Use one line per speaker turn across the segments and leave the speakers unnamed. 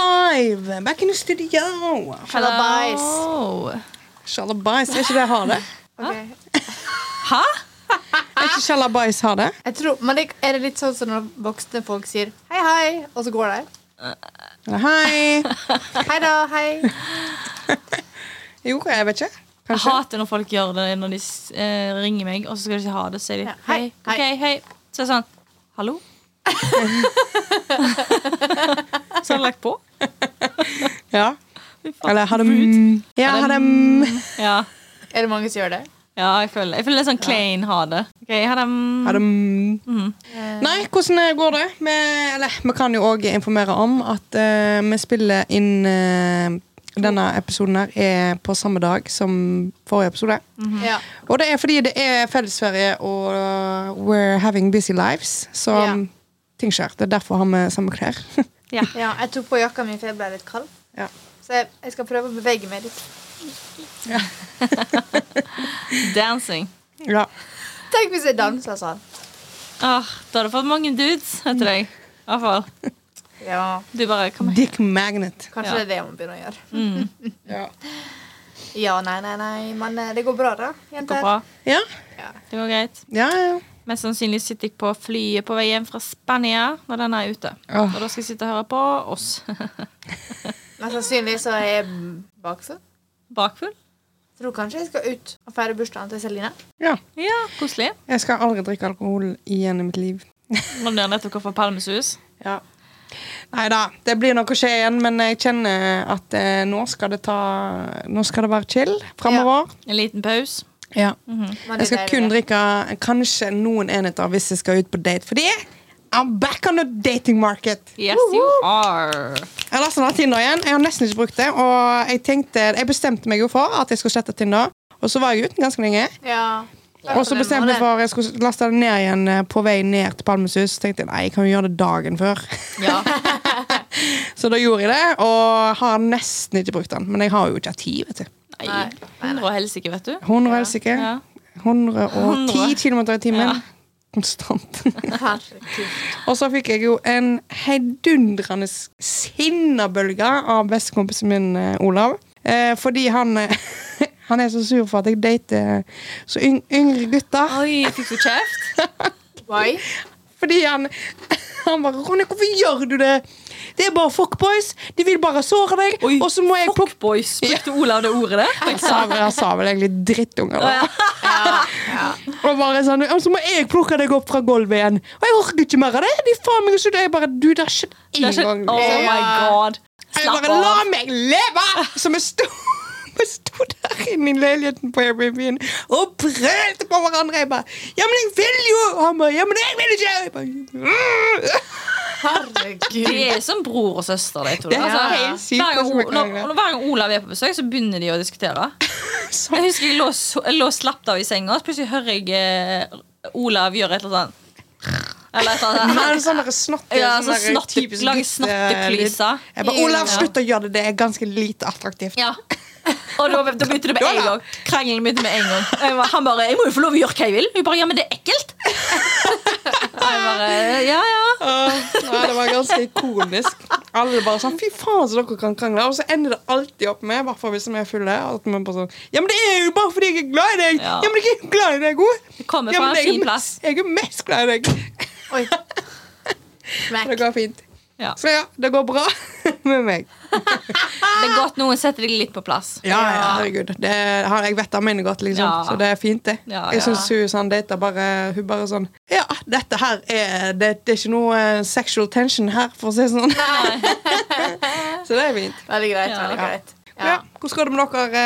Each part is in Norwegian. live! Back in the studio!
Shalabais.
Hello.
Shalabais, er ikke det ha det?
Ok.
Hæ?
Er ikke shalabais ha det?
Jeg tror, men det, er det litt sånn som når voksne folk sier hei, hei, og så går de?
Eller Hei!
Hei da, hei.
Jo, jeg vet ikke.
Jeg
Kanskje.
hater når folk gjør det når de eh, ringer meg, og så skal de ikke ha det. Så sier de
Ja,
hei,
hei,
ok, hei. Så er det sånn Hallo? så har de lagt på.
Ja.
Fy faen.
Eller ha det mm. Ja, ha det mm.
Ja.
Er det mange som gjør det?
ja, jeg føler jeg føler det er sånn klein ha det. Ok, ha det. mm.
Ha det mm. Nei, hvordan går det? Vi, eller, vi kan jo òg informere om at eh, vi spiller inn eh, Denne episoden her er på samme dag som forrige episode.
Eh, Ja.
Og det er fordi det er fellesferie, og uh, we're having busy lives. Så
Ja.
um, ting skjer. Det er derfor har vi samme klær.
Ja.
ja. Jeg tok på jakka mi, for jeg ble litt kald.
Ja.
Så jeg, jeg skal prøve å bevege meg litt.
Dancing.
ja.
Tenk hvis jeg danser sånn.
Ah, da har du fått mange dudes etter deg. I hvert fall.
Ja,
Du bare kom her.
Dick Magnet.
Kanskje
Ja.
det er det jeg må begynne å gjøre.
Mm,
Ja.
Ja, nei, nei, nei, men eh, det går bra, da.
det
Jenter.
går bra.
Ja,
Ja.
Det går greit.
ja. ja.
Mest sannsynlig sitter jeg på flyet på vei hjem fra Spania når den er ute.
Åh.
Og da skal jeg sitte og høre på oss.
Mest sannsynlig så er jeg mm, bakfull.
Bakfull?
Tror kanskje jeg skal ut og feire bursdagen til Celine.
ja.
Ja, koselig.
Jeg skal aldri drikke alkohol igjen i mitt liv.
Nå er det nettopp kommet fra Palmesus.
Ja. Nei da, det blir nok å skje igjen, men jeg kjenner at eh, nå skal det ta Nå skal det være chill framover.
En liten pause.
Ja.
Men det
Jeg skal
er
kun
deilig.
drikke kanskje noen enheter hvis jeg skal ut på date, fordi I'm back on the dating market.
Yes, you are.
Jeg har lastet ned Tinder igjen. Jeg har nesten ikke brukt det. Og jeg, tenkte, jeg bestemte meg jo for at jeg skulle slette Tinder. Og så var jeg uten ganske lenge.
Ja.
Og så bestemte jeg for at jeg skulle laste det ned igjen eh, på vei ned til Palmesus. Så tenkte jeg nei, jeg kan jo gjøre det dagen før.
Ja.
Så da gjorde jeg det, og har nesten ikke brukt den. Men jeg har jo ikke hatt tid, vet du.
Nei. Hundre og helsike, vet du.
100 helsike.
Ja.
110
100.
km i timen.
Ja.
Konstant.
Herregud.
Og så fikk jeg jo en heidundrende sinnabølge av bestekompisen min, eh, Olav. Eh, fordi han, eh, han er så sur for at jeg dater så yng yngre gutter.
Oi, fikk du kjeft?
Why?
Fordi han, han bare 'Ronny, hvorfor gjør du det?' 'Det er bare fuckboys. De vil bare såre deg.'
Oi,
og så må jeg plukke
Fuckboys. Brukte Olav det ordet der?
Jeg sa, vel- jeg sa vel egentlig drittunger, da. Og bare sånn, «Og så må jeg plukke deg opp fra gulvet igjen. Og jeg orker ikke mer av det. De faen meg så det. Jeg bare, du, det har skjedd
Det er
én
ikke,
gang.
oh
liksom.
my god.
Jeg
Slapp
bare la
av.
meg leve! Så vi sto, vi sto der inne i leiligheten på Airbnb-en og brølte på hverandre. Jeg bare 'Ja, men jeg vil jo!' Og han bare 'Ja, men jeg vil ikke!' Jeg bare, «Mm!»
Herregud.
De er som bror og søster, de to.
Det er
Altså,
helt sykt
hver, gang,
hvordan vi
O- når,
krangler.
når- hver gang Olav er på besøk, så begynner de å diskutere. Jeg husker jeg lå, så- jeg lå og slapp av i senga, og så plutselig hører jeg eh, Olav gjøre et eller annet sånn Eller et eller
Han
annet.
er en sånn der snotte,
Ja,
sånn
sånn
der
snotte-
typisk
lager
gutte-
snotteplyser.
Jeg bare 'Olav,
Ja.
slutt å gjøre det. Det er ganske lite attraktivt'.
Ja. Og da, da begynte det med en gang. Krangelen begynte med en gang. Og jeg var- Han bare 'Jeg må jo få lov å gjøre hva jeg vil.' Hun bare 'Ja, men det er ekkelt'. Og jeg bare Ja, ja.
Åh, nei, det var ganske ikonisk. Alle bare sånn 'Fy faen, så dere kan krangle'. Og så ender det alltid opp med, i hvert fall hvis vi er fulle, at vi bare sånn 'Ja, men det er jo bare fordi jeg er glad i deg!'
Ja.
Ja, men jeg er jo glad i deg òg!
Det kommer
Ja,
fra
men
en
jeg,
fin
er
plass.
mest, jeg er mest glad i deg.
Oi.
Det
Smack.
går fint.
Ja.
Så ja, det går bra med meg.
Det er godt noen setter deg litt på plass.
Ja, ja, herregud. Det, har- jeg vet han mener godt, liksom.
Ja.
Så det er fint, det.
Ja,
jeg sånn,
ja.
syns Susan dater bare Hun bare sånn Ja, dette her er Det, det er ikke noe eh, sexual tension her, for å si det sånn. så det er fint.
Veldig greit.
Ja.
veldig greit
Ja. Hvordan går det med dere,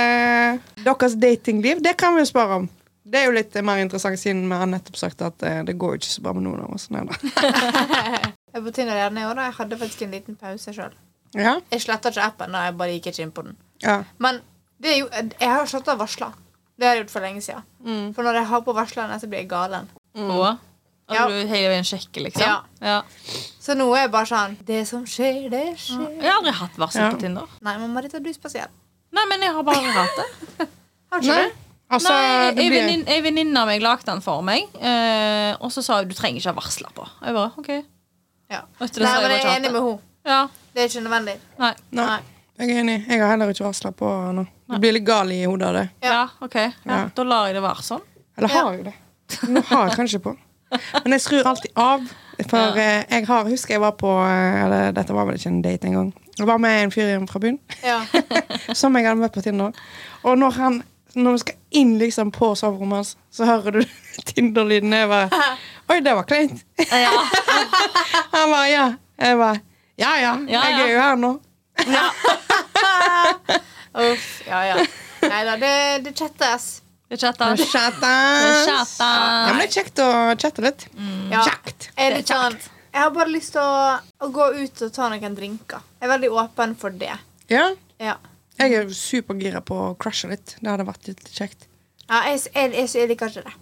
eh, deres datingliv? Det kan vi jo spørre om. Det er jo litt eh, mer interessant, siden vi har nettopp sagt at eh, det går jo ikke så bra med noen av oss. Nei, da.
Jeg er på Tinder gjerne i år, da. Jeg hadde faktisk en liten pause sjøl.
Ja?
Jeg sletta ikke appen, da. Jeg bare gikk ikke inn på den.
Ja.
Men det er jo, jeg har sletta varsler. Det har jeg gjort for lenge siden. For når jeg har på varslene, så blir jeg galen.
Mm.
Og og
Ja.
du hele veien sjekker, liksom.
Ja.
Ja.
Så nå er jeg bare sånn Det som skjer, det skjer.
Jeg har aldri hatt varsel
Ja.
på Tinder.
Nei, men Marita, du er spesiell.
Nei, men jeg har bare hatt det.
Har ikke
Nei.
du?
Altså,
Nei,
det
ei
blir
venninne- ei venninne av meg lagde den for meg, eh, og så sa hun du trenger ikke ha varsler på. Og jeg bare, ok.
Ja.
Og etter det
Nei,
så har
men
jeg
jeg
bare
er
ikke
enig
hatt det.
med henne.
Ja.
Det er ikke nødvendig.
Nei.
Nei.
Nei.
Jeg er enig. Jeg har heller ikke varsla på nå. Du blir litt gal i hodet av det.
Ja.
Ja, OK. Ja.
Ja.
Da lar jeg det være sånn.
Eller har jeg det? Nå har jeg kanskje på. Men jeg skrur alltid av. For eh, jeg har, husker jeg var på eh, Eller dette var vel ikke en date engang. Jeg var med en fyr igjen fra byen
Ja.
som jeg hadde møtt på Tinder. Og når han når vi skal inn liksom på soverommet hans, så hører du Tinder-lyden. Jeg bare Oi, det var kleint.
Ja.
Han bare ja. Jeg bare ja, ja.
Ja,
Jeg
ja.
er jo her nå.
Uff. Ja, ja. Nei da, det, det chattes.
Det er chatta. Det er
Chatta.
chatta.
Ja, men det er kjekt å chatte litt.
Mm.
Ja.
Kjekt.
Jeg, er
Det er
litt sånn, jeg har bare lyst til å, å gå ut og ta noen drinker. Jeg er veldig åpen for det.
Ja.
Ja.
Jeg er supergira på å crushe litt. Det hadde vært litt kjekt.
Ja, jeg, jeg, jeg, jeg liker ikke det.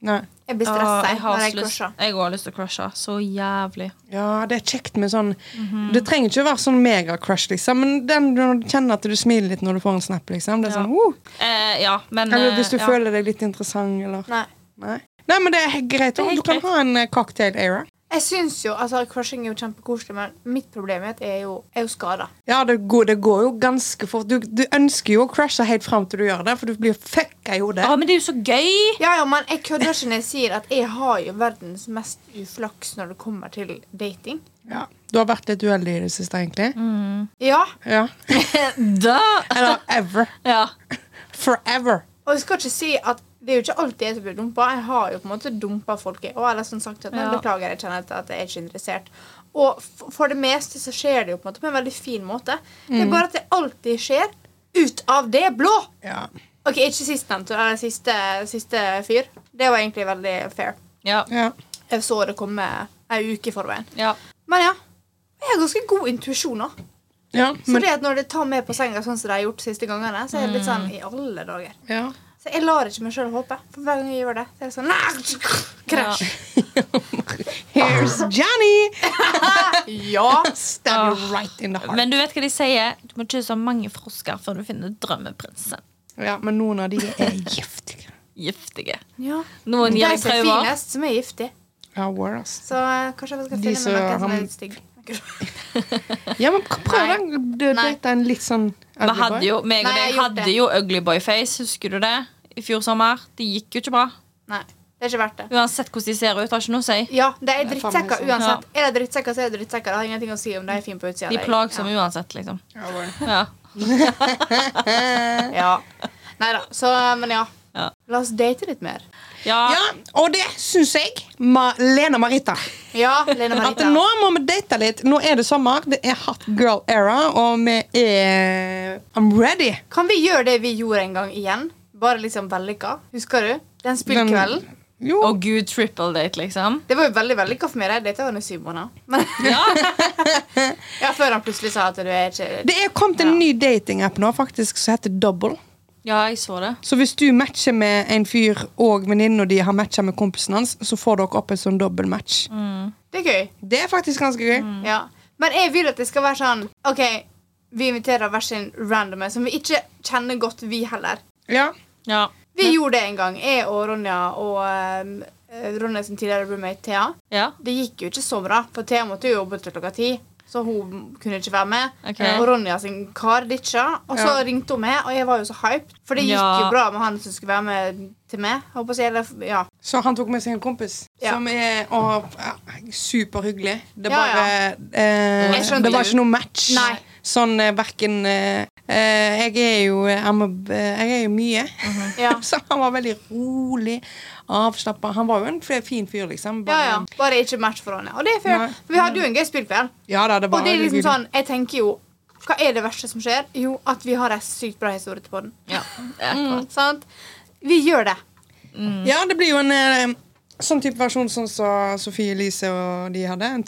Nei.
Jeg blir
Åh,
stressa
jeg har
når
så
jeg
lyst-
crusher.
jeg har lyst til å crushe så jævlig.
Ja, det er kjekt med sånn
Mhm.
Det trenger ikke å være sånn megacrush, liksom, men den når du kjenner at du smiler litt når du får en snap, liksom. Det er
Ja.
sånn, uh,
Eh, ja, men
eller hvis
eh,
du
ja.
føler deg litt interessant, eller
Nei.
Nei. Nei, men det er he- greit.
er
du
helt
kan
greit.
ha en eh, cocktail era.
Jeg syns jo, altså Crushing er jo kjempekoselig, men mitt problem er at jeg er jo, jeg er jo skada.
Ja, det går, det går jo ganske fort. Du, du ønsker jo å crushe helt fram til du gjør det, for du blir fucka i hodet.
Åh, men det er jo så gøy!
Ja, ja, men jeg kødder ikke når jeg sier at jeg har jo verdens mest uflaks når det kommer til dating.
Ja. Du har vært litt uheldig i det siste, egentlig.
Mm.
Ja,
Ja.
Da!
Eller ever.
Ja.
Forever.
Og jeg skal ikke si at det er jo ikke alltid jeg som blir dumpa. Jeg har jo på en måte dumpa folk. jeg- Og eller sånn sagt at,
Ja.
«Nei, Beklager, jeg kjenner at jeg er ikke interessert. Og f- for det meste så skjer det jo på en måte på en veldig fin måte. Det er bare at det alltid skjer ut av det blå.
Ja.
Ok, ikke sistnevnte, eller siste, siste fyr. Det var egentlig veldig fair.
Ja.
ja.
Jeg så det komme ei uke i forveien.
ja.
Men ja. Jeg har ganske god intuisjon nå.
ja
Så
men
det at når det tar meg på senga sånn som de har gjort siste gangene, så er det litt sånn i alle dager.
ja.
Så jeg lar ikke meg sjøl håpe. For hver gang jeg gjør det, så er det sånn «Nei!» Krasj.
Here's Johnny!
Ja.
Stab you right in the heart.
Men du vet hva de sier? Du må kysse mange frosker før du finner drømmeprinsen.
Ja, men noen av de er giftige.
Giftige.
ja.
Noen
De
gir deg
som er
traumer.
finest, som er giftige.
Ja, worst.
Så eh, kanskje vi skal
De
finne med noen
som-
som er litt stygg.
Ja, men prøv den. Du
Nei.
date en litt sånn
Vi hadde jo, meg og
Nei, jeg
deg
har gjort
hadde
det.
jo Uglyboy-face, husker du det? I fjor sommer. Det gikk jo ikke bra.
Nei, det er ikke verdt det.
Uansett hvordan de ser ut, har ikke noe å si.
Ja,
Det er
de er
faen meg
drittsekker
sånn.
uansett. Er de drittsekker, så er de drittsekker. Det har ingenting å si om de er fine på utsida.
De er plagsomme uansett, liksom. Ja.
Ja. ja. Nei da. Så, eh, men ja.
Ja.
La oss date litt mer.
ja.
Ja, og det syns jeg. Ma Lena Marita.
Ja, Lene
At
Marita.
nå må vi date litt. Nå er det sommer, det er hot girl era, og vi er I'm ready.
Kan vi gjøre det vi gjorde en gang igjen? Bare liksom vellykka. Husker du? Den
Den-
spillkvelden.
Jo.
Og gud, triple date, liksom.
Det var jo veldig vellykka for meg. Jeg data han i syv måneder. Men,
Ja.
ja, før han plutselig sa at du er ikke
Det er kommet en ny datingapp nå faktisk som heter Double.
ja, jeg så det.
Så hvis du matcher med en fyr og venninnen de har matcha med kompisen hans, så får dere opp en sånn dobbeltmatch.
Mm.
Det er gøy.
Det er faktisk ganske gøy.
Ja. Men jeg vil at det skal være sånn OK, vi inviterer hver sin randome som vi ikke kjenner godt, vi heller.
Ja.
Ja.
Vi gjorde det en gang, jeg og Ronja og um, Ronja sin tidligere roommate Thea.
Ja.
Det gikk jo ikke så bra, for Thea måtte jo jobbe til klokka ti. Så hun kunne ikke være med.
Ok.
Og Ronja sin kar ditcha. Og så
Ja.
ringte hun meg, og jeg var jo så hyped. For det gikk
Ja.
jo bra med han som skulle være med til meg. Håper jeg, eller, ja.
Så han tok med seg en kompis
Ja.
som er å, ja, superhyggelig. Det
Ja,
bare
Jeg
Eh,
skjønte
Det var
det.
ikke noe match.
Nei.
Sånn eh, verken eh, eh, Jeg er jo eh, I'm a, eh, Jeg er jo mye.
Mhm. Ja.
Så han var veldig rolig, avslappa. Han var jo en f- fin fyr, liksom.
Ja,
Bare-
ja. Bare ikke match for henne. Og det er fair.
Nei.
For vi hadde jo en gøy spillkveld.
ja da, det var
Og det er liksom
hyggelig.
sånn, jeg tenker jo Hva er det verste som skjer? Jo, at vi har en sykt bra historie til podden.
ja. Mm. akkurat.
Sant? Vi gjør det.
Mm.
Ja, det blir jo en eh, sånn type versjon sånn som Sofie Elise og de hadde. En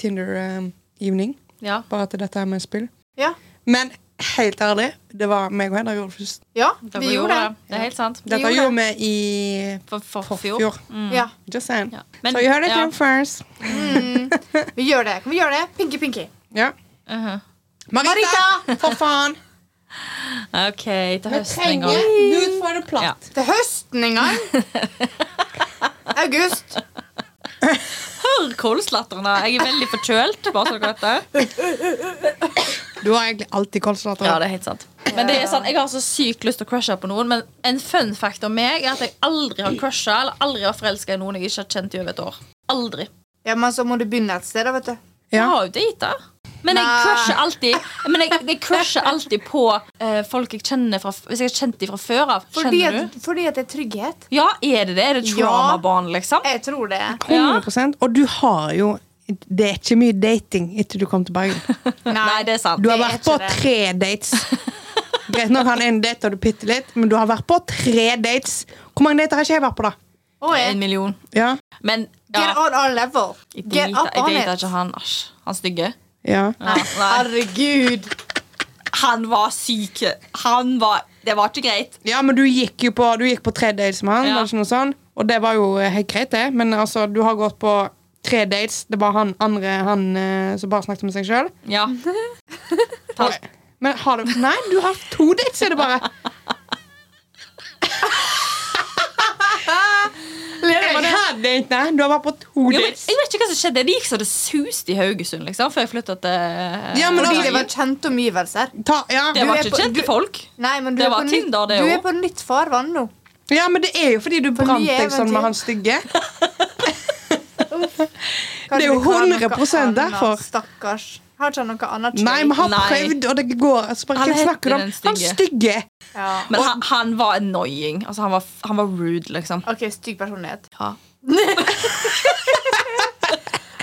Tinder-evening.
ja.
Bare at dette er med spill.
Ja.
Men helt ærlig, det var meg og Hedda gjorde det først.
Ja,
Det
vi gjorde det.
Det er helt sant.
Dette
gjorde
gjorde vi i
For, for,
forfjor.
Ja,
Just saying.
Mm. Ja.
so you heard it
ja. Mm.
here first.
vi gjør det. Kan vi gjøre det? Pinky, pinky.
Ja.
Mhm.
Marita!
Marita!
For faen!
OK, til høsten en gang.
Trenger du for det
Ja.
platt?
Til høsten en gang. August.
Hør kolslatteren. da. Jeg er veldig forkjølt. bare så dere vet det.
Du har egentlig alltid kolsdatter.
Ja, det er helt sant. Men det er sånn, Jeg har så sykt lyst til å crushe på noen, men en fun fact om meg er at jeg aldri har crusha eller aldri har forelska i noen jeg ikke har kjent i over et år. Aldri.
Ja, men så må du begynne et sted, da, vet du.
Jeg
Ja.
har jo data. Men jeg
Nei.
crusher alltid Men jeg, jeg crusher alltid på eh, folk jeg kjenner fra Hvis jeg har kjent dem fra før av.
Fordi
Kjenner
at,
du?
fordi at det er trygghet.
Ja, er det det? Er det
Ja. Eh,
trauma-barn, liksom?
Jeg tror det.
100 Og du har jo Det er ikke mye dating etter du kom til Bergen.
Nei, det er sant.
Du har
Det er
vært på
ikke det.
tre dates. Greit nok han ene data du bitte litt, men du har vært på tre dates. Hvor mange dater har ikke jeg vært på, da?
Og jeg,
En million.
Ja.
Men
get
ja,
on our level.
jeg
Get
data
up on
jeg data
it.
ikke han. Asj, han stygge.
ja.
Ja, nei.
Herregud.
Han var syk. Han var Det var ikke greit.
Ja, men du gikk jo på, du gikk på tre dates med han,
Ja.
var det ikke noe sånn? Og det var jo eh, helt greit, det. Men altså, du har gått på tre dates. Det var han andre han eh, som bare snakket med seg sjøl.
Ja. Ta,
Men har du Nei, du har hatt to dates, er det bare. Jeg hadde ikke Nei, du har vært på to
jo, men,
dates.
jeg vet ikke hva som skjedde. Det gikk så det suste i Haugesund liksom, før jeg flytta til
Ja, men
Fordi
altså,
det var kjente omgivelser.
Ta, ja.
Det var
er
ikke
på-
kjente
du-
folk.
Nei, men du
Det
er
var
på
Tinder, det
nytt, du
også.
er på nytt farvann nå.
ja, men det er jo fordi du brant
mye
deg sånn
eventyr.
med han stygge.
Kanskje
Det er jo
vi kan noe
100%
annet,
derfor.
Stakkars. Har ikke han noe annet
Nei, vi har
Nei.
prøvd, og det går. Altså, bare,
Han
hva
heter
snakker du om?
den
Han
stygge.
stygge.
Ja.
Men han, han var annoying. Altså, han, var, han var rude, liksom.
OK, stygg personlighet.
Ja.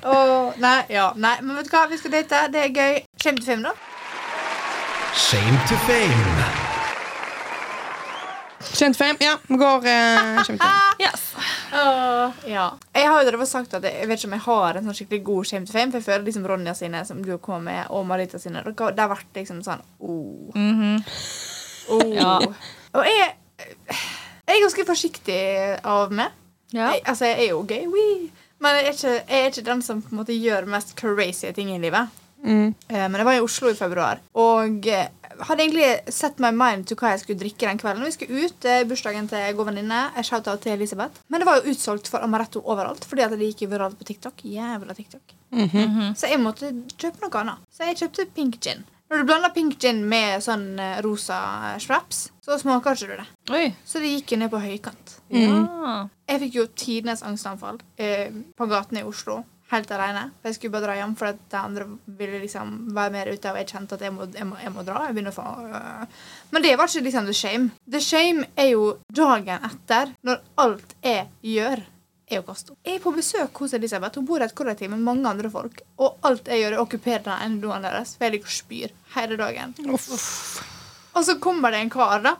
Åh, nei, ja, nei, men vet du hva, vi skal date. Det er gøy. Shame to fame, da.
Shame to fame.
Kjent fem. Ja, vi går. Eh, kjent fem.
Yes.
ja. Jeg har jo drevet og sagt at jeg, jeg vet ikke om jeg har en sånn skikkelig god shame to fame. For jeg føler liksom Ronja sine som du kom med, og Marita sine dere- Det har vært liksom sånn oh. oh.
Ja.
Og jeg, jeg er ganske forsiktig av meg. Jeg, altså, jeg er jo gay, wee. men jeg er, ikke, jeg er ikke den som på en måte gjør mest crazy ting i livet.
Mm.
Eh, Men jeg var i Oslo i februar og eh, hadde egentlig sett my mind til hva jeg skulle drikke den kvelden. Vi skulle ut eh, bursdagen til en god venninne. Jeg shouta til Elisabeth. Men det var jo utsolgt for Amaretto overalt fordi at det gikk jo viralt på TikTok. Jævla TikTok. Mhm. Så jeg måtte kjøpe noe annet. Så jeg kjøpte pink gin. Når du blander pink gin med sånn eh, rosa schraps, så smaker ikke du det.
Oi.
Så det gikk jo ned på høykant.
Mm.
Ja.
Jeg fikk jo tidenes angstanfall eh, på gaten i Oslo. Helt alene. For Jeg skulle bare dra hjem, for at de andre ville liksom være mer ute. Og jeg kjente at jeg må, jeg må, jeg må dra. Jeg begynner å få øh. Men det var ikke liksom the shame. The shame er jo dagen etter, når alt jeg gjør, er å kaste opp. Jeg er på besøk hos Elisabeth. Hun bor i et kollektiv med mange andre folk. Og alt jeg gjør, er å okkupere den ene doen deres, for jeg ligger og spyr hele dagen. Og så kommer det en kar da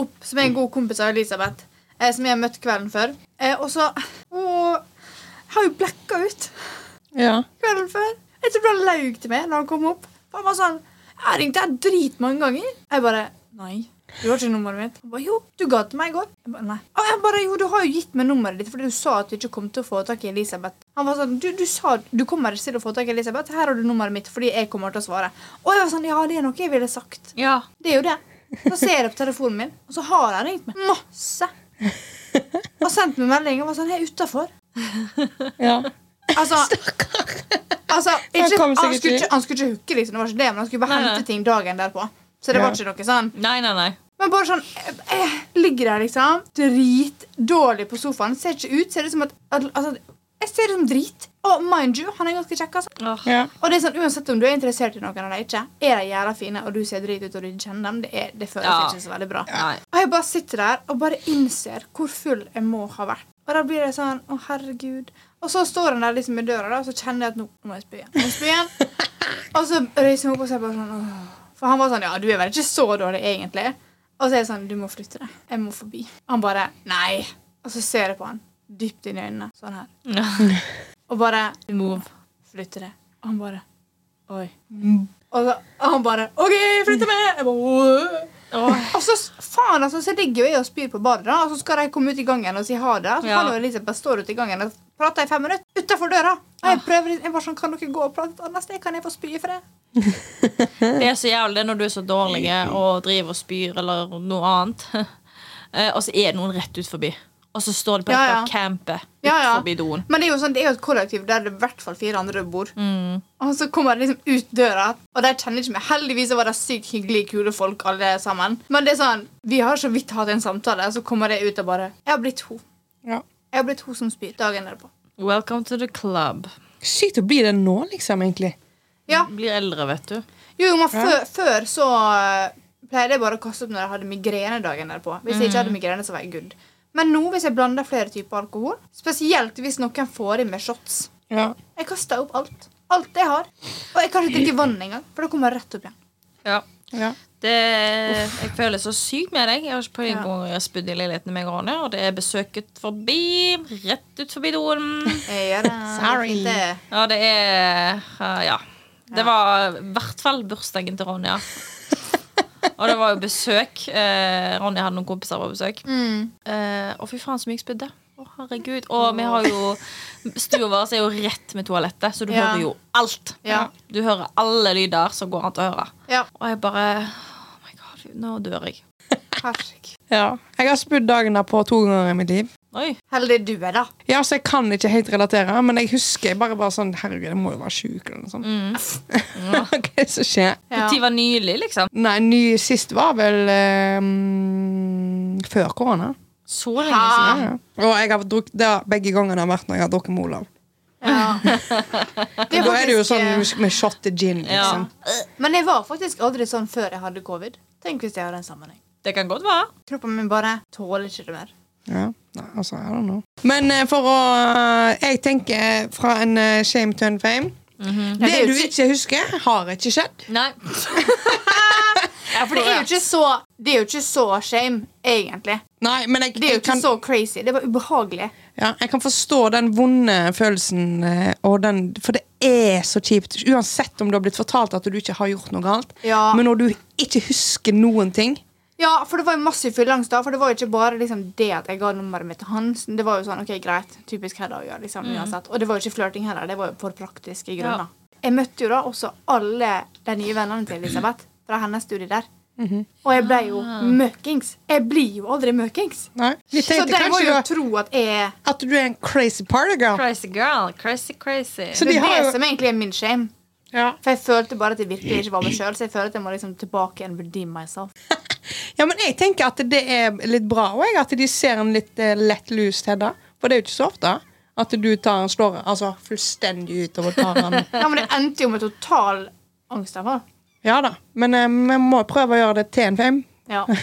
opp, som er en god kompis av Elisabeth, eh, som jeg har møtt kvelden før. Eh, og så Og har jo blekka ut
Ja.
kvelden før. Jeg tror han laug til meg når han kom opp. For Han var sånn Jeg har ringt deg dritmange ganger. Jeg bare Nei. Du har ikke nummeret mitt. Han bare, jo, du ga til meg i går. Jeg bare, nei. Og jeg bare, jo, du har jo gitt meg nummeret ditt fordi du sa at du ikke kom til å få tak i Elisabeth. Han var sånn, du, du sa du kommer ikke til å få tak i Elisabeth. Her har du nummeret mitt fordi jeg kommer til å svare. Og jeg var sånn, ja, det er noe jeg ville sagt.
Ja.
Det er jo det. Så ser jeg på telefonen min, og så har han ringt meg masse. Og sendt meg melding og var sånn Hei, utafor.
ja.
Altså, altså
Han
ikke,
kom
han,
sikkert
skulle
ikke.
ikke, han skulle ikke hooke, liksom. Det var ikke det, men han skulle bare
Nei, nei.
hente ting dagen derpå. Så det
Ja.
var ikke noe sånn.
Nei, nei, nei.
Men bare sånn Jeg, jeg ligger der, liksom, dritdårlig på sofaen. Ser ikke ut. Ser ut som at at- Altså, jeg ser ut som drit. Og mind you, han er ganske kjekk, altså.
Åh.
ja.
Og det er sånn, Uansett om du er interessert i noen eller ikke, er de jævla fine, og du ser drit ut og du ikke kjenner dem, det, er, det føles
Ja.
ikke så veldig bra.
Nei.
Og jeg bare sitter der og bare innser hvor full jeg må ha vært. Og da blir jeg sånn Å, herregud. Og så står han der liksom i døra, da, og så kjenner jeg at nå nå må jeg spy igjen. Nå må jeg spy igjen. og så reiser hun opp og ser bare sånn Åh. For han var sånn Ja, du er vel ikke så dårlig, egentlig. Og så er jeg sånn Du må flytte deg. Jeg må forbi. Han bare Nei. Og så ser jeg på han dypt inn i øynene, sånn her. Og bare
Move.
flytte det. Og han bare Oi. Og, så, og han bare OK, flytte med! Jeg bare, «Åh». og så s- faen, altså, så ligger jo jeg og spyr på badet, da, og så skal de komme ut i gangen og si ha det. Så
Ja.
han og Elisabeth står ute i gangen og prater i fem minutter utafor døra. Og jeg prøver liksom- jeg bare sånn, Kan dere gå og prate et annet sted? Kan jeg få spy for det?
Det er så jævlig det er når du er så dårlig og driver og spyr eller noe annet. Eh, Og så er det noen rett ut forbi. og så står de på
Ja,
dette
ja.
campet ut
Ja, ja.
forbi doen.
Men det er jo sånn, det er jo et kollektiv der det i hvert fall fire andre bor.
Mm.
Og så kommer de liksom ut døra, og de kjenner ikke meg. Heldigvis så var de sykt hyggelige, kule folk alle sammen. Men det er sånn, vi har så vidt hatt en samtale, og så kommer de ut og bare Jeg har blitt ho.
Ja.
Jeg har blitt ho som spyr dagen derpå.
Welcome to the club.
Sykt å bli det nå, liksom, egentlig.
Ja.
Blir eldre, vet du.
Jo, men før, før så eh, pleide jeg bare å kaste opp når jeg hadde migrene dagen derpå. Hvis jeg ikke
Mm.
hadde migrene, så var jeg good. Men nå, hvis jeg blander flere typer alkohol, spesielt hvis noen får i med shots
Ja.
Jeg kaster opp alt. Alt jeg har. Og jeg kan ikke drikke vann engang, for det kommer jeg rett opp igjen.
Ja.
ja.
Det, jeg føler så sykt med deg. Jeg har ikke på en
Ja.
gang jeg har spydd i leiligheten med Ronny, og det er besøket forbi. Rett ut forbi doen.
Jeg gjør det.
Sorry.
Det er fint,
Ja, det er eh, Ja. Det var i hvert fall bursdagen til Ronja. og det var jo besøk. Eh, Ronja hadde noen kompiser på besøk.
Mm.
Eh, og fy faen, så mye jeg spydde. Å, herregud. Og vi har jo Stua vår er jo rett med toalettet, så du
Ja.
hører jo alt.
Ja.
Du hører alle lyder som går an til å høre.
det. Ja.
Og jeg bare Oh my god, nå dør jeg.
Herregud.
ja. Jeg har spydd dagen derpå to ganger i mitt liv.
Oi.
Heldig du er, da.
Ja, så Jeg kan ikke helt relatere, men jeg husker jeg bare, bare sånn Herregud, jeg må jo være sjuk. Eller noe sånt.
Mm.
Hva er det som skjer?
Ja.
Når var nylig, liksom?
Nei, ny sist var vel eh, mm, før korona.
Så lenge
Ha.
siden.
Ja, ja. Og jeg har drukk, det har begge gangene har vært når jeg har drukket med Olav.
Ja. Det
Da er det jo
faktisk,
sånn
eh,
med shot til gin.
Ja.
liksom
Men jeg var faktisk aldri sånn før jeg hadde covid. Tenk hvis jeg hadde en sammenheng.
Det kan godt være.
Kroppen min bare tåler ikke det mer.
Ja, nei, altså, I don't know. Men eh, for å Jeg tenker eh, fra en eh, shame to en fame.
Nei, det er
Mhm. Det
jo
du
ikke-
ikke husker, har ikke skjedd.
Nei.
Ja, for det er jo ikke så Det er jo ikke så shame, egentlig.
Nei, men jeg,
Det er jo
jeg,
ikke
kan,
så crazy. Det er bare ubehagelig.
ja, jeg kan forstå den vonde følelsen, eh, og den, for det er så kjipt. Uansett om du har blitt fortalt at du ikke har gjort noe galt,
Ja.
men når du ikke husker noen ting
Ja, for det var jo massiv fylleangst da. For det var jo ikke bare liksom, det at jeg ga nummeret mitt til Hans. Det var jo sånn, ok, greit, typisk Hedda-øya, liksom,
Mm.
uansett. Og det var jo ikke flørting heller. Det var jo for praktiske grunner. Jeg møtte jo da også alle de nye vennene til Elisabeth fra hennes studie der.
Mhm.
Og jeg ble jo møkings. Jeg blir jo aldri møkings.
Nei, Ah. Vi
Så
tenkte
de må
kanskje
jo
du,
tro at jeg
at du er en crazy partygirl.
Crazy girl. Crazy, crazy.
Så
Det
de
er
har
det
jo
som egentlig er min shame.
ja.
For jeg følte bare at jeg virkelig ikke var meg sjøl. Så jeg føler at jeg må liksom tilbake and redeem myself.
ja, men jeg tenker at det er litt bra og jeg, at de ser en litt eh, lett lus Hedda. For det er jo ikke så ofte at du tar en slår altså, fullstendig ut og tar han
Ja, Men det endte jo med total angstanfall.
Ja da. Men eh, vi må prøve å gjøre det til en fame.
Ja. Ja,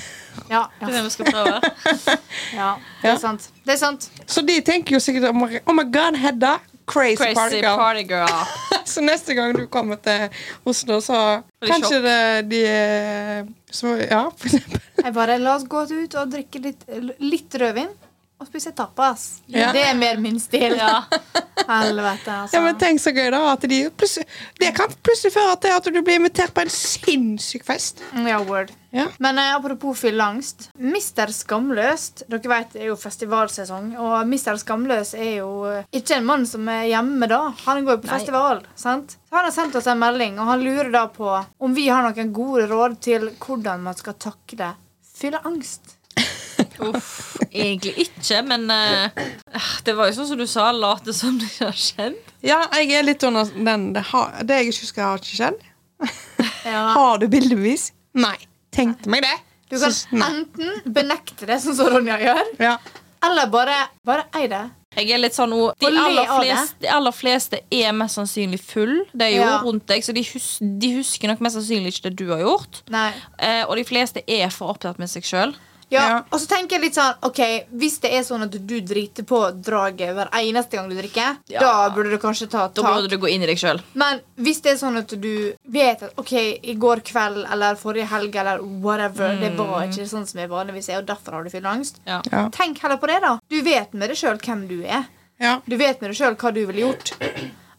ja.
Det er det vi skal prøve.
Ja, det er
Ja.
sant. Det er sant.
Så de tenker jo sikkert om Oh my god, Hedda! Crazy,
Crazy
partygirl.
party girl.
Så neste gang du kommer til Oslo, så
Blir
kanskje
sjokk.
det, de eh, Så ja, for eksempel.
Jeg bare, La oss gå ut og drikke litt, litt rødvin og spise tapas.
Ja.
Det er mer min stil.
Ja.
Helvete, altså.
Ja, men tenk så gøy, da. At de plutselig, det kan plutselig føre til at du blir invitert på en sinnssyk fest.
Mm, Ja, word.
Ja.
Men eh, apropos fylleangst. Mister Skamløst Dere vet det er jo festivalsesong, og Mister Skamløs er jo eh, ikke en mann som er hjemme da. Han går jo på
Nei.
festival. sant? Så Han har sendt oss en melding, og han lurer da på om vi har noen gode råd til hvordan man skal takle fylleangst.
Uff. Egentlig ikke, men eh, det var jo sånn som du sa, late som det ikke har skjedd.
Ja, jeg er litt under den. Det, har, det jeg ikke husker, har ikke skjedd.
Ja.
Har du bildebevis? Nei. Tenkte meg det.
Du kan
Så- nei.
enten benekte det, sånn som Ronja gjør,
ja.
eller bare, bare ei det.
Jeg er litt sånn, oh, de,
Og le
aller
av det.
fleste, de aller fleste er mest sannsynlig full. Det er jo
Ja.
rundt deg, så de, hus de husker nok mest sannsynlig ikke det du har gjort.
Nei.
Eh, og de fleste er for opptatt med seg sjøl.
Ja,
Ja.
Og så tenker jeg litt sånn OK, hvis det er sånn at du driter på draget hver eneste gang du drikker,
Ja.
da burde du kanskje ta
Da burde
tak.
du gå inn i deg sjøl.
Men hvis det er sånn at du vet at OK, i går kveld eller forrige helg eller whatever, det
Mm.
var ikke sånn som jeg vanligvis er, og derfor har du fylleangst,
Ja.
Ja.
tenk heller på det, da. Du vet med deg sjøl hvem du er.
ja.
Du vet med deg sjøl hva du ville gjort.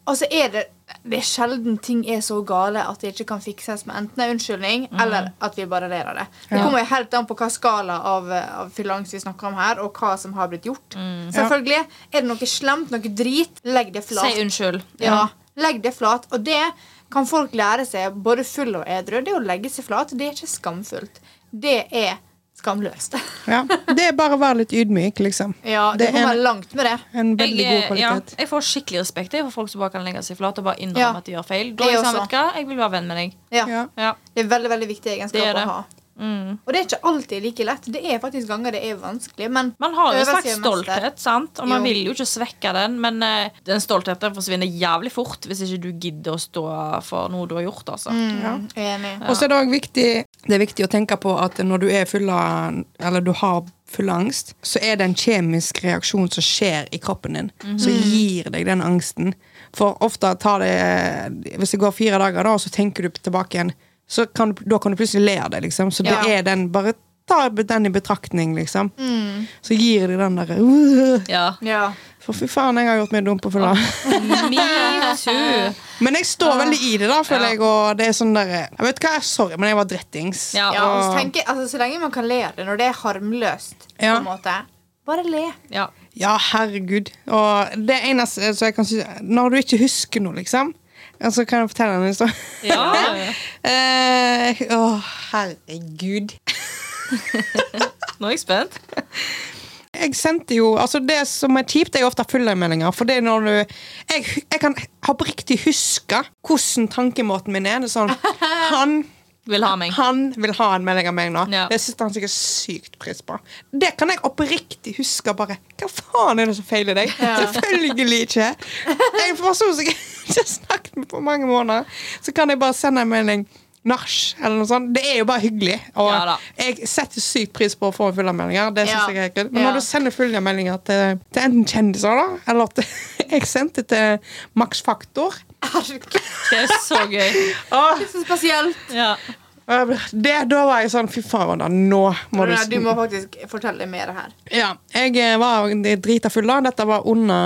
Og så er det Det er sjelden ting er så gale at det ikke kan fikses med enten en unnskyldning
Mhm.
eller at vi bare ler av det. Det kommer jo helt an på hva skala av, av fylleangst vi snakker om her, og hva som har blitt gjort.
Mm.
Selvfølgelig. Er det noe slemt, noe drit, legg det
Si
flat.
unnskyld.
Ja, legg det flat. Og det kan folk lære seg, både full og edru. Det å legge seg flat, det er ikke skamfullt. Det er skamløst.
Ja. Det er bare å være lilitt ydmyk, liksom.
Ja, du
Det
må
er-
være langt med det.
En
Jeg,
veldig god
eh, ja,
kvalitet.
jeg får skikkelig respekt jeg, for folk som bare kan legge seg flat og bare innrømme
Ja.
at de gjør feil. Da
Jeg
er jeg, sånn,
også.
vet du hva? jeg vil være venn med deg.
Ja.
Ja.
Ja.
Det er veldig, veldig viktig
Det er
egenskap
det.
å ha.
Mm.
Og det er ikke alltid like lett. Det er faktisk ganger det er vanskelig, men
Man har jo en
Øver
slags
seg mest der.
stolthet, sant? og man
Jo.
vil jo ikke svekke den, men eh, den stoltheten forsvinner jævlig fort hvis ikke du gidder å stå for noe du har gjort. Altså.
mm, jeg er enig.
Og så er det òg viktig, det er viktig å tenke på at når du er full av Eller du har full angst, så er det en kjemisk reaksjon som skjer i kroppen din,
Mhm.
som gir deg den angsten. For ofte tar det Hvis det går fire dager, da, og så tenker du tilbake igjen, så kan du, da kan du plutselig le av det, liksom. Så
Ja.
det er den Bare ta den i betraktning, liksom.
Mm.
Så gir det den derre «Åh,
Ja.
Ja.
For fy faen, jeg har gjort meg dum på fylla.
Me too.
Men jeg står veldig i det, da, føler
Ja.
jeg. Og det er sånn der, jeg vet hva, sorry, men jeg var drittings.
Ja.
ja og så,
Og-
tenker, jeg- altså, så lenge man kan le av det når det er harmløst,
Ja.
på en måte, bare le.
Ja.
Ja, herregud. Og det eneste som jeg kan si Når du ikke husker noe, liksom, så kan jeg fortelle en historie.
Ja.
Eh, Å, herregud.
Nå er jeg spent.
Jeg sendte jo Altså, det som er kjipt, er jo ofte fullemeldinger. For det er når du Jeg, jeg kan oppriktig huske hvordan tankemåten min er. Det er sånn Han
Vil ha meg.
Han vil ha en melding av meg nå.
Ja.
Det setter han sikkert sykt pris på. Det kan jeg oppriktig huske. bare, Hva faen er det som feiler deg?
Ja.
Selvfølgelig ikke! En person som jeg ikke har snakket med på mange måneder, så kan jeg bare sende en melding. Nach, eller noe sånt. Det er jo bare hyggelig. Og
Ja da.
jeg setter sykt pris på å få fullermeldinger. Det synes
Ja.
jeg er helt greit. Men
Ja.
når du sender fullermeldinger til, til enten kjendiser, da, eller at jeg sendte til Max Faktor
Herregud,
Det er så gøy.
Åh,
så spesielt.
Ja.
og jeg ble- det, Da var jeg sånn Fy faen, da. Nå må du
Rune, Du må faktisk fortelle mer her.
Ja, jeg eh, var drita full da. Dette var under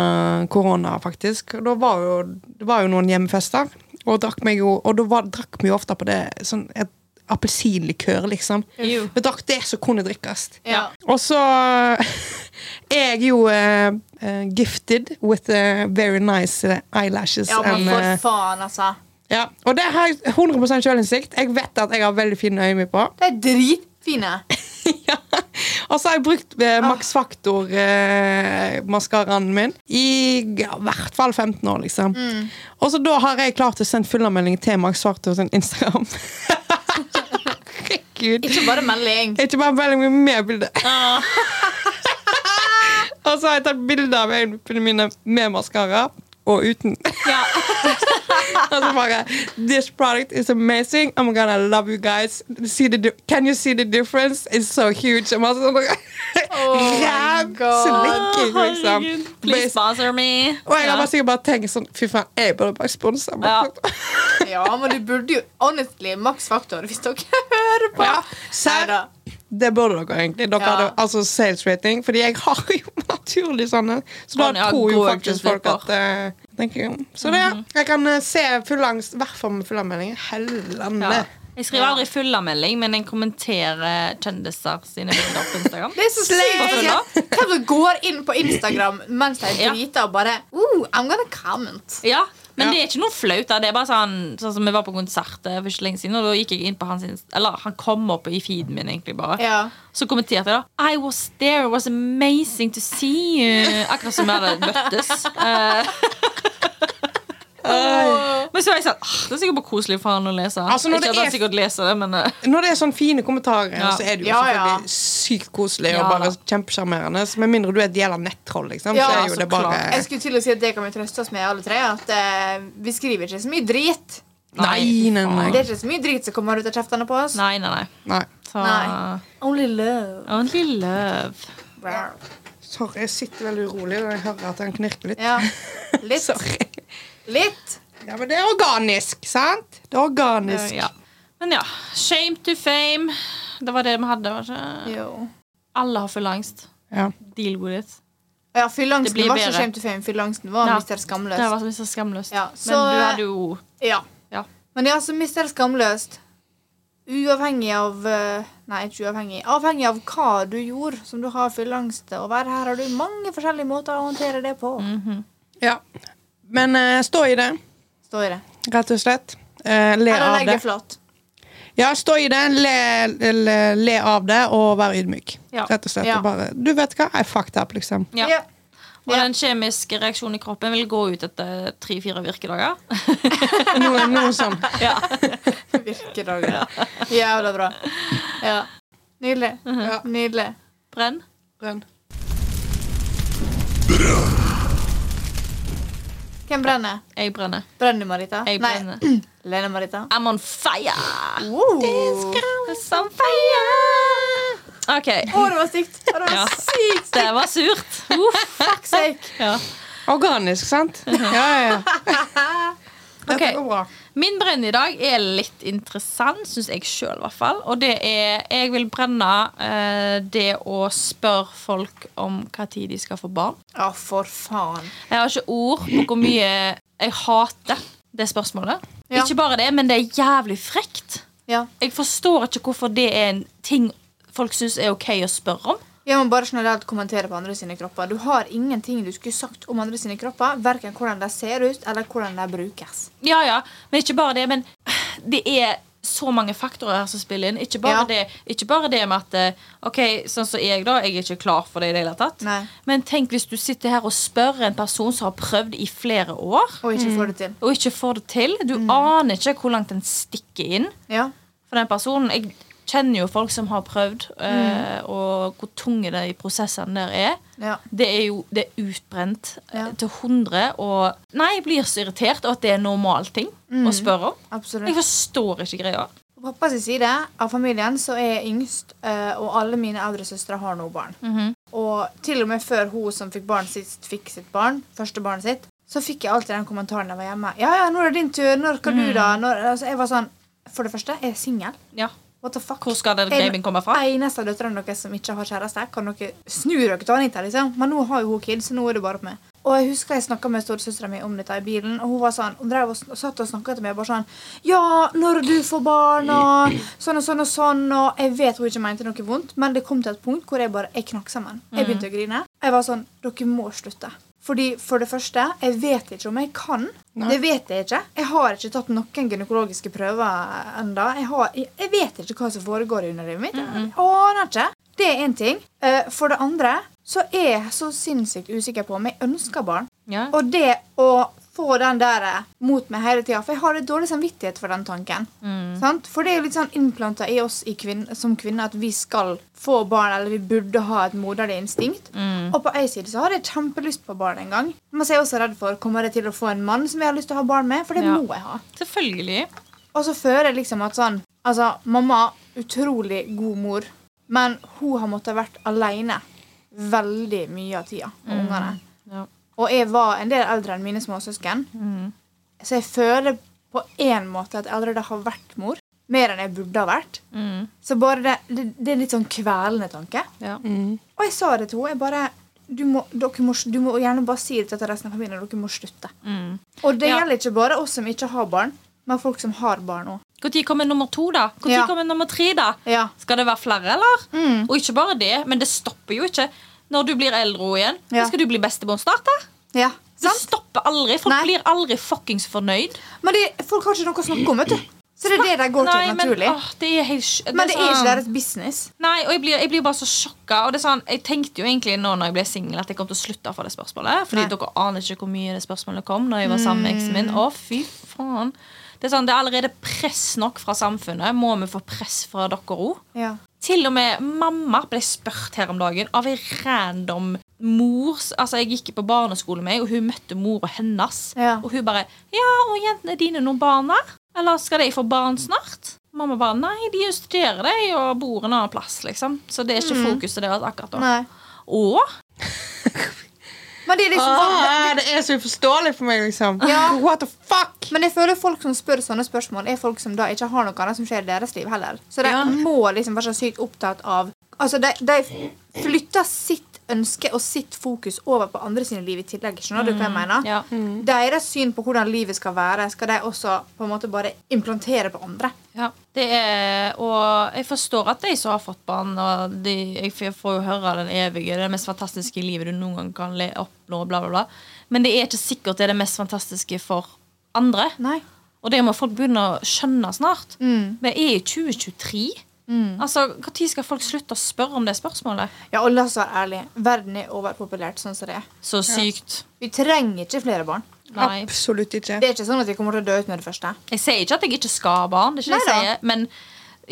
korona, faktisk. Og Da var jo, det var jo noen hjemmefester, og, drakk meg jo, og da var, drakk vi jo ofte på det sånn et appelsinlikør, liksom.
Jo.
Vi drakk det som kunne drikkes.
Ja.
Og så Jeg jo eh, eh, gifted with eh, very nice eh, eyelashes.
Ja, men
and, eh,
for faen, altså.
ja. Og det har jeg 100 sjølinnsikt. Jeg vet at jeg har veldig fine øyne på.
De er dritfine.
ja. Og så har jeg brukt eh, Max Factor-maskaraen min i ja, hvert fall 15 år, liksom. Og så da har jeg klart å sende fullermelding til Max Factor sin Instagram. Herregud.
Ikke bare melding.
Ikke bare melding, men med bilde. Og så har jeg tatt bilde av øynene mine med maskara og uten.
Ja.
Og så bare This product is amazing. I'm gonna love you guys. See the, di- can you see the difference? It's so huge. Og masse sånne
Oh
my
Rævslikking, liksom.
Please
Bas-
sponsor me.
Og jeg har
Ja.
bare sikkert bare tenkt sånn Fy faen, jeg burde bare sponse.
Ja.
meg.
Ja, men du burde jo honestly maks faktor hvis dere hører på.
Ja, serr.
Neida.
Det burde dere egentlig. Dere
Ja.
hadde altså sales rating. Fordi jeg har jo naturlig sånne. Så da
Han har
tror jo
gode
faktisk folk at eh, tenker jo. Så det, jeg kan eh, se full angst, i hvert fall med fullanmeldinger. Hellene.
Ja. Jeg skriver aldri fullermelding, men jeg kommenterer kjendiser sine bilder på Instagram.
Det er så sykt.
Hvorfor da?
spesielt. Hvem som går inn på Instagram mens de
Ja.
er drita og bare Ooh, I'm gonna comment.
Ja, men
Ja.
det er ikke noe flaut. da. Det er bare sånn, sånn som Vi var på konsert eh, for ikke lenge siden, og da gikk jeg inn på hans inst- Eller han kom opp i feeden min, egentlig bare.
Ja.
Så kommenterte jeg da. I was there, it was amazing to see you. Akkurat som vi hadde møttes. Eh, men så var jeg sånn ah, Det er sikkert bare koselig for han å lese.
Altså, når
ikke
det
at han
er-
sikkert leser det, men eh,
Når det er sånne fine kommentarer,
Ja.
så er det jo
Ja,
selvfølgelig sykt koselig og
Ja,
bare
da.
kjempesjarmerende. så Med mindre du er et jævla nettroll, liksom.
Ja,
så er jo
så
det bare
klart.
Jeg skulle til å si at det kan vi trøste oss med, alle tre. At eh, vi skriver ikke så mye drit.
Nei, nei, nei.
Det er ikke så mye drit som kommer ut av kjeftene på oss.
Nei, nei, nei.
Nei.
Så,
Nei. Only love.
Only love.
Wow.
Sorry, jeg sitter veldig urolig når jeg hører at han knirker litt.
Ja. Litt.
Sorry.
Litt.
Ja, men det er organisk, sant? Det er organisk.
Ja. Men ja. Shame to fame. Det var det vi hadde. Var ikke?
Jo.
Alle har full angst.
Ja.
Deal with it.
Ja,
Det
fylleangsten
blir
var ikke
bedre.
shame to fame. Fylleangsten var
Ja.
Mr.
Det
Skamløs.
var så skamløst.
Ja, så-
Men du hadde jo
Ja.
Ja.
Men ja, så Mr. Skamløst Uavhengig av eh, Nei, ikke uavhengig. Avhengig av hva du gjorde som du har fylleangst over. Her har du mange forskjellige måter å håndtere det på.
Mm.
ja. Men eh, stå i det,
Står i det.
rett og slett. Eh, le
Eller
av
legg
det.
det flat.
Ja, stå i det, le, le, le av det, og vær ydmyk.
Ja.
Rett og slett.
Ja.
og Bare, du vet hva, I fucked up, liksom.
Ja.
Ja.
Og den kjemiske reaksjonen i kroppen vil gå ut etter tre-fire virkedager.
Noe, noe sånn.
Ja.
Virkedager. Jævla bra. Ja. Nydelig.
Mhm.
Ja. Nydelig.
Brenn.
Brenn.
Hvem brenner?
Jeg brenner.
Brenner du, Marita?
Jeg
Nei.
brenner. Ah,
Lene Marita.
I'm on fire!
Wow.
It's on fire! OK.
Å, det var stygt! Å, Det var
Ja.
sykt stygt!
Det var surt. Uff.
Fuck sake.
Ja.
Organisk, sant? Ja, ja, ja. Dette
Ok.
går bra.
Min brenn i dag er litt interessant, syns jeg sjøl i hvert fall. Og det er Jeg vil brenne eh, det å spørre folk om når de skal få barn.
Å, for faen.
Jeg har ikke ord på hvor mye jeg hater det spørsmålet.
Ja.
Ikke bare det, men det er jævlig frekt.
Ja.
Jeg forstår ikke hvorfor det er en ting folk syns er ok å spørre om.
Jeg må bare generelt kommentere på andre sine kropper. Du har ingenting du skulle sagt om andre sine kropper, hverken hvordan de ser ut, eller hvordan de brukes.
Ja, ja, men ikke bare det. Men det er så mange faktorer her som spiller inn. Ikke
Ja.
bare, det, ikke bare det med at eh, OK, sånn som jeg, da. Jeg er ikke klar for det i det hele tatt.
Nei.
Men tenk hvis du sitter her og spør en person som har prøvd i flere år,
Og ikke får det til.
og ikke får det til. Du
Mm.
aner ikke hvor langt den stikker inn
Ja.
for den personen. Jeg kjenner jo folk som har prøvd, eh, og hvor tunge de prosessene der er.
Mm. Ja.
Det er jo det er utbrent eh,
Ja.
til 100. Og nei, jeg blir så irritert over at det er en normal ting å spørre om.
Mm. Absolutt.
Jeg forstår ikke greia.
På pappas side av familien så er jeg yngst, eh, og alle mine eldre søstre har nå barn. Og til og med før hun som fikk barn sist, fikk sitt barn, første barnet sitt, så fikk jeg alltid den kommentaren da jeg var hjemme. Ja, ja, nå er det din tur. Når kan du, da? Når, altså, jeg var sånn For det første, jeg er singel.
Ja.
What the fuck?
Hvor skal den babyen komme fra?
En eneste av døtrene deres som ikke har kjæreste, kan dere snu dere til Anita, liksom? Men nå har jo hun kids, så nå er det bare opp med. Og jeg husker jeg snakka med storesøstera mi om dette i bilen, og hun var sånn, hun drev og sn- satt og snakka til meg bare sånn Ja, når du får barn, og sånn og sånn og sånn, og jeg vet hun ikke mente noe vondt, men det kom til et punkt hvor jeg bare jeg knakk sammen.
Mm.
Jeg begynte å grine. Jeg var sånn Dere må slutte. Fordi For det første, jeg vet ikke om jeg kan.
Nei.
Det vet jeg ikke. Jeg har ikke tatt noen gynekologiske prøver ennå. Jeg, har- jeg, jeg vet ikke hva som foregår i underlivet mitt. Jeg aner ikke. Det er én ting. Eh, For det andre så er jeg så sinnssykt usikker på om jeg ønsker barn.
Ja.
Og det å få den der eh, mot meg hele tida For jeg har litt dårlig samvittighet for den tanken.
Mm.
Sant? For det er jo litt sånn innplanta i oss i kvinn, som kvinner at vi skal få barn, eller vi burde ha et moderlig instinkt.
Mm.
Og på en side så har jeg kjempelyst på barn en gang. Men så er jeg også redd for kommer jeg til å få en mann som jeg har lyst til å ha barn med. For det
Ja.
må jeg ha.
Selvfølgelig.
Og så føler jeg liksom at sånn Altså, mamma, utrolig god mor, men hun har måttet vært alene veldig mye av tida. Og ungene.
Mm. Ja. Mm.
Og jeg var en del eldre enn mine småsøsken. Så jeg føler på en måte at jeg allerede har vært mor. Mer enn jeg burde ha vært. Så bare det, det, det er litt sånn kvelende tanke.
Mm, Ja.
Og jeg sa det til henne. Jeg bare du må, dere må, du må gjerne bare si det til resten av familien. Dere må slutte. Og det
Mm. Ja.
gjelder ikke bare oss som ikke har barn, men folk som har barn òg.
Når kommer nummer to, da? Når
Ja.
kommer nummer tre, da?
Ja. Mm.
Skal det være flere, eller? Og ikke bare det, men det stopper jo ikke. Når du blir eldre igjen,
Ja.
da skal du bli bestemor snart, da?
Ja.
Det
Sant?
stopper aldri. Folk
Nei.
blir aldri fuckings fornøyd.
Men det, folk har ikke noe å snakke om, vet du. Så det er det de går
Nei,
til naturlig.
Men, åh, det er helt, sj-
Men det er ikke
sånn-
deres business.
Nei, og jeg blir, jeg blir bare så sjokka. Og det er sånn, jeg tenkte jo egentlig nå når jeg ble singel, at jeg kom til å slutte for det spørsmålet. Fordi
Nei. Mm.
dere aner ikke hvor mye det spørsmålet kom når jeg var sammen med eksen min. Å, fy faen. Det er sånn, det er allerede press nok fra samfunnet. Må vi få press fra dere òg?
Ja.
Til og med mamma ble spurt her om dagen av ei random mor Altså Jeg gikk på barneskole med, og hun møtte mora hennes.
Ja.
Og hun bare 'Ja, og jentene dine noen barn her? Eller skal de få barn snart?' Mamma bare 'Nei, de studerer, de, og bor en annen plass', liksom. Så det er ikke fokuset deres akkurat da.
Mm. Nei.
Og
Men det er liksom sånn
Ah, det er så uforståelig for meg, liksom.
Ja.
What the fuck?
Men jeg føler folk som spør sånne spørsmål, er folk som da ikke har noe annet som skjer i deres liv heller. Så de
Ja.
må liksom være så sykt opptatt av Altså, de, de flytter sitt ønske og sitt fokus over på andre sine liv i tillegg. Skjønner du hva jeg mener?
ja.
Deres syn på hvordan livet skal være, skal de også på en måte bare implantere på andre.
Ja, det er, og jeg forstår at de som har fått barn og de, Jeg f- får jo høre den evige Det mest fantastiske livet du noen gang kan le, oppnå bla, bla, bla. Men det er ikke sikkert det er det mest fantastiske for andre
Nei.
Og det må folk begynne å skjønne snart. Vi er i 2023. Altså, Når skal folk slutte å spørre om det spørsmålet?
Ja, og la oss være ærlige. Verden er overpopulert sånn som det er.
Så sykt.
Vi trenger ikke flere barn.
Nei.
Absolutt ikke.
Det er ikke sånn at vi kommer til å dø ut med det første.
Jeg sier ikke at jeg ikke skal ha barn, det er ikke det jeg
Neida.
sier. Men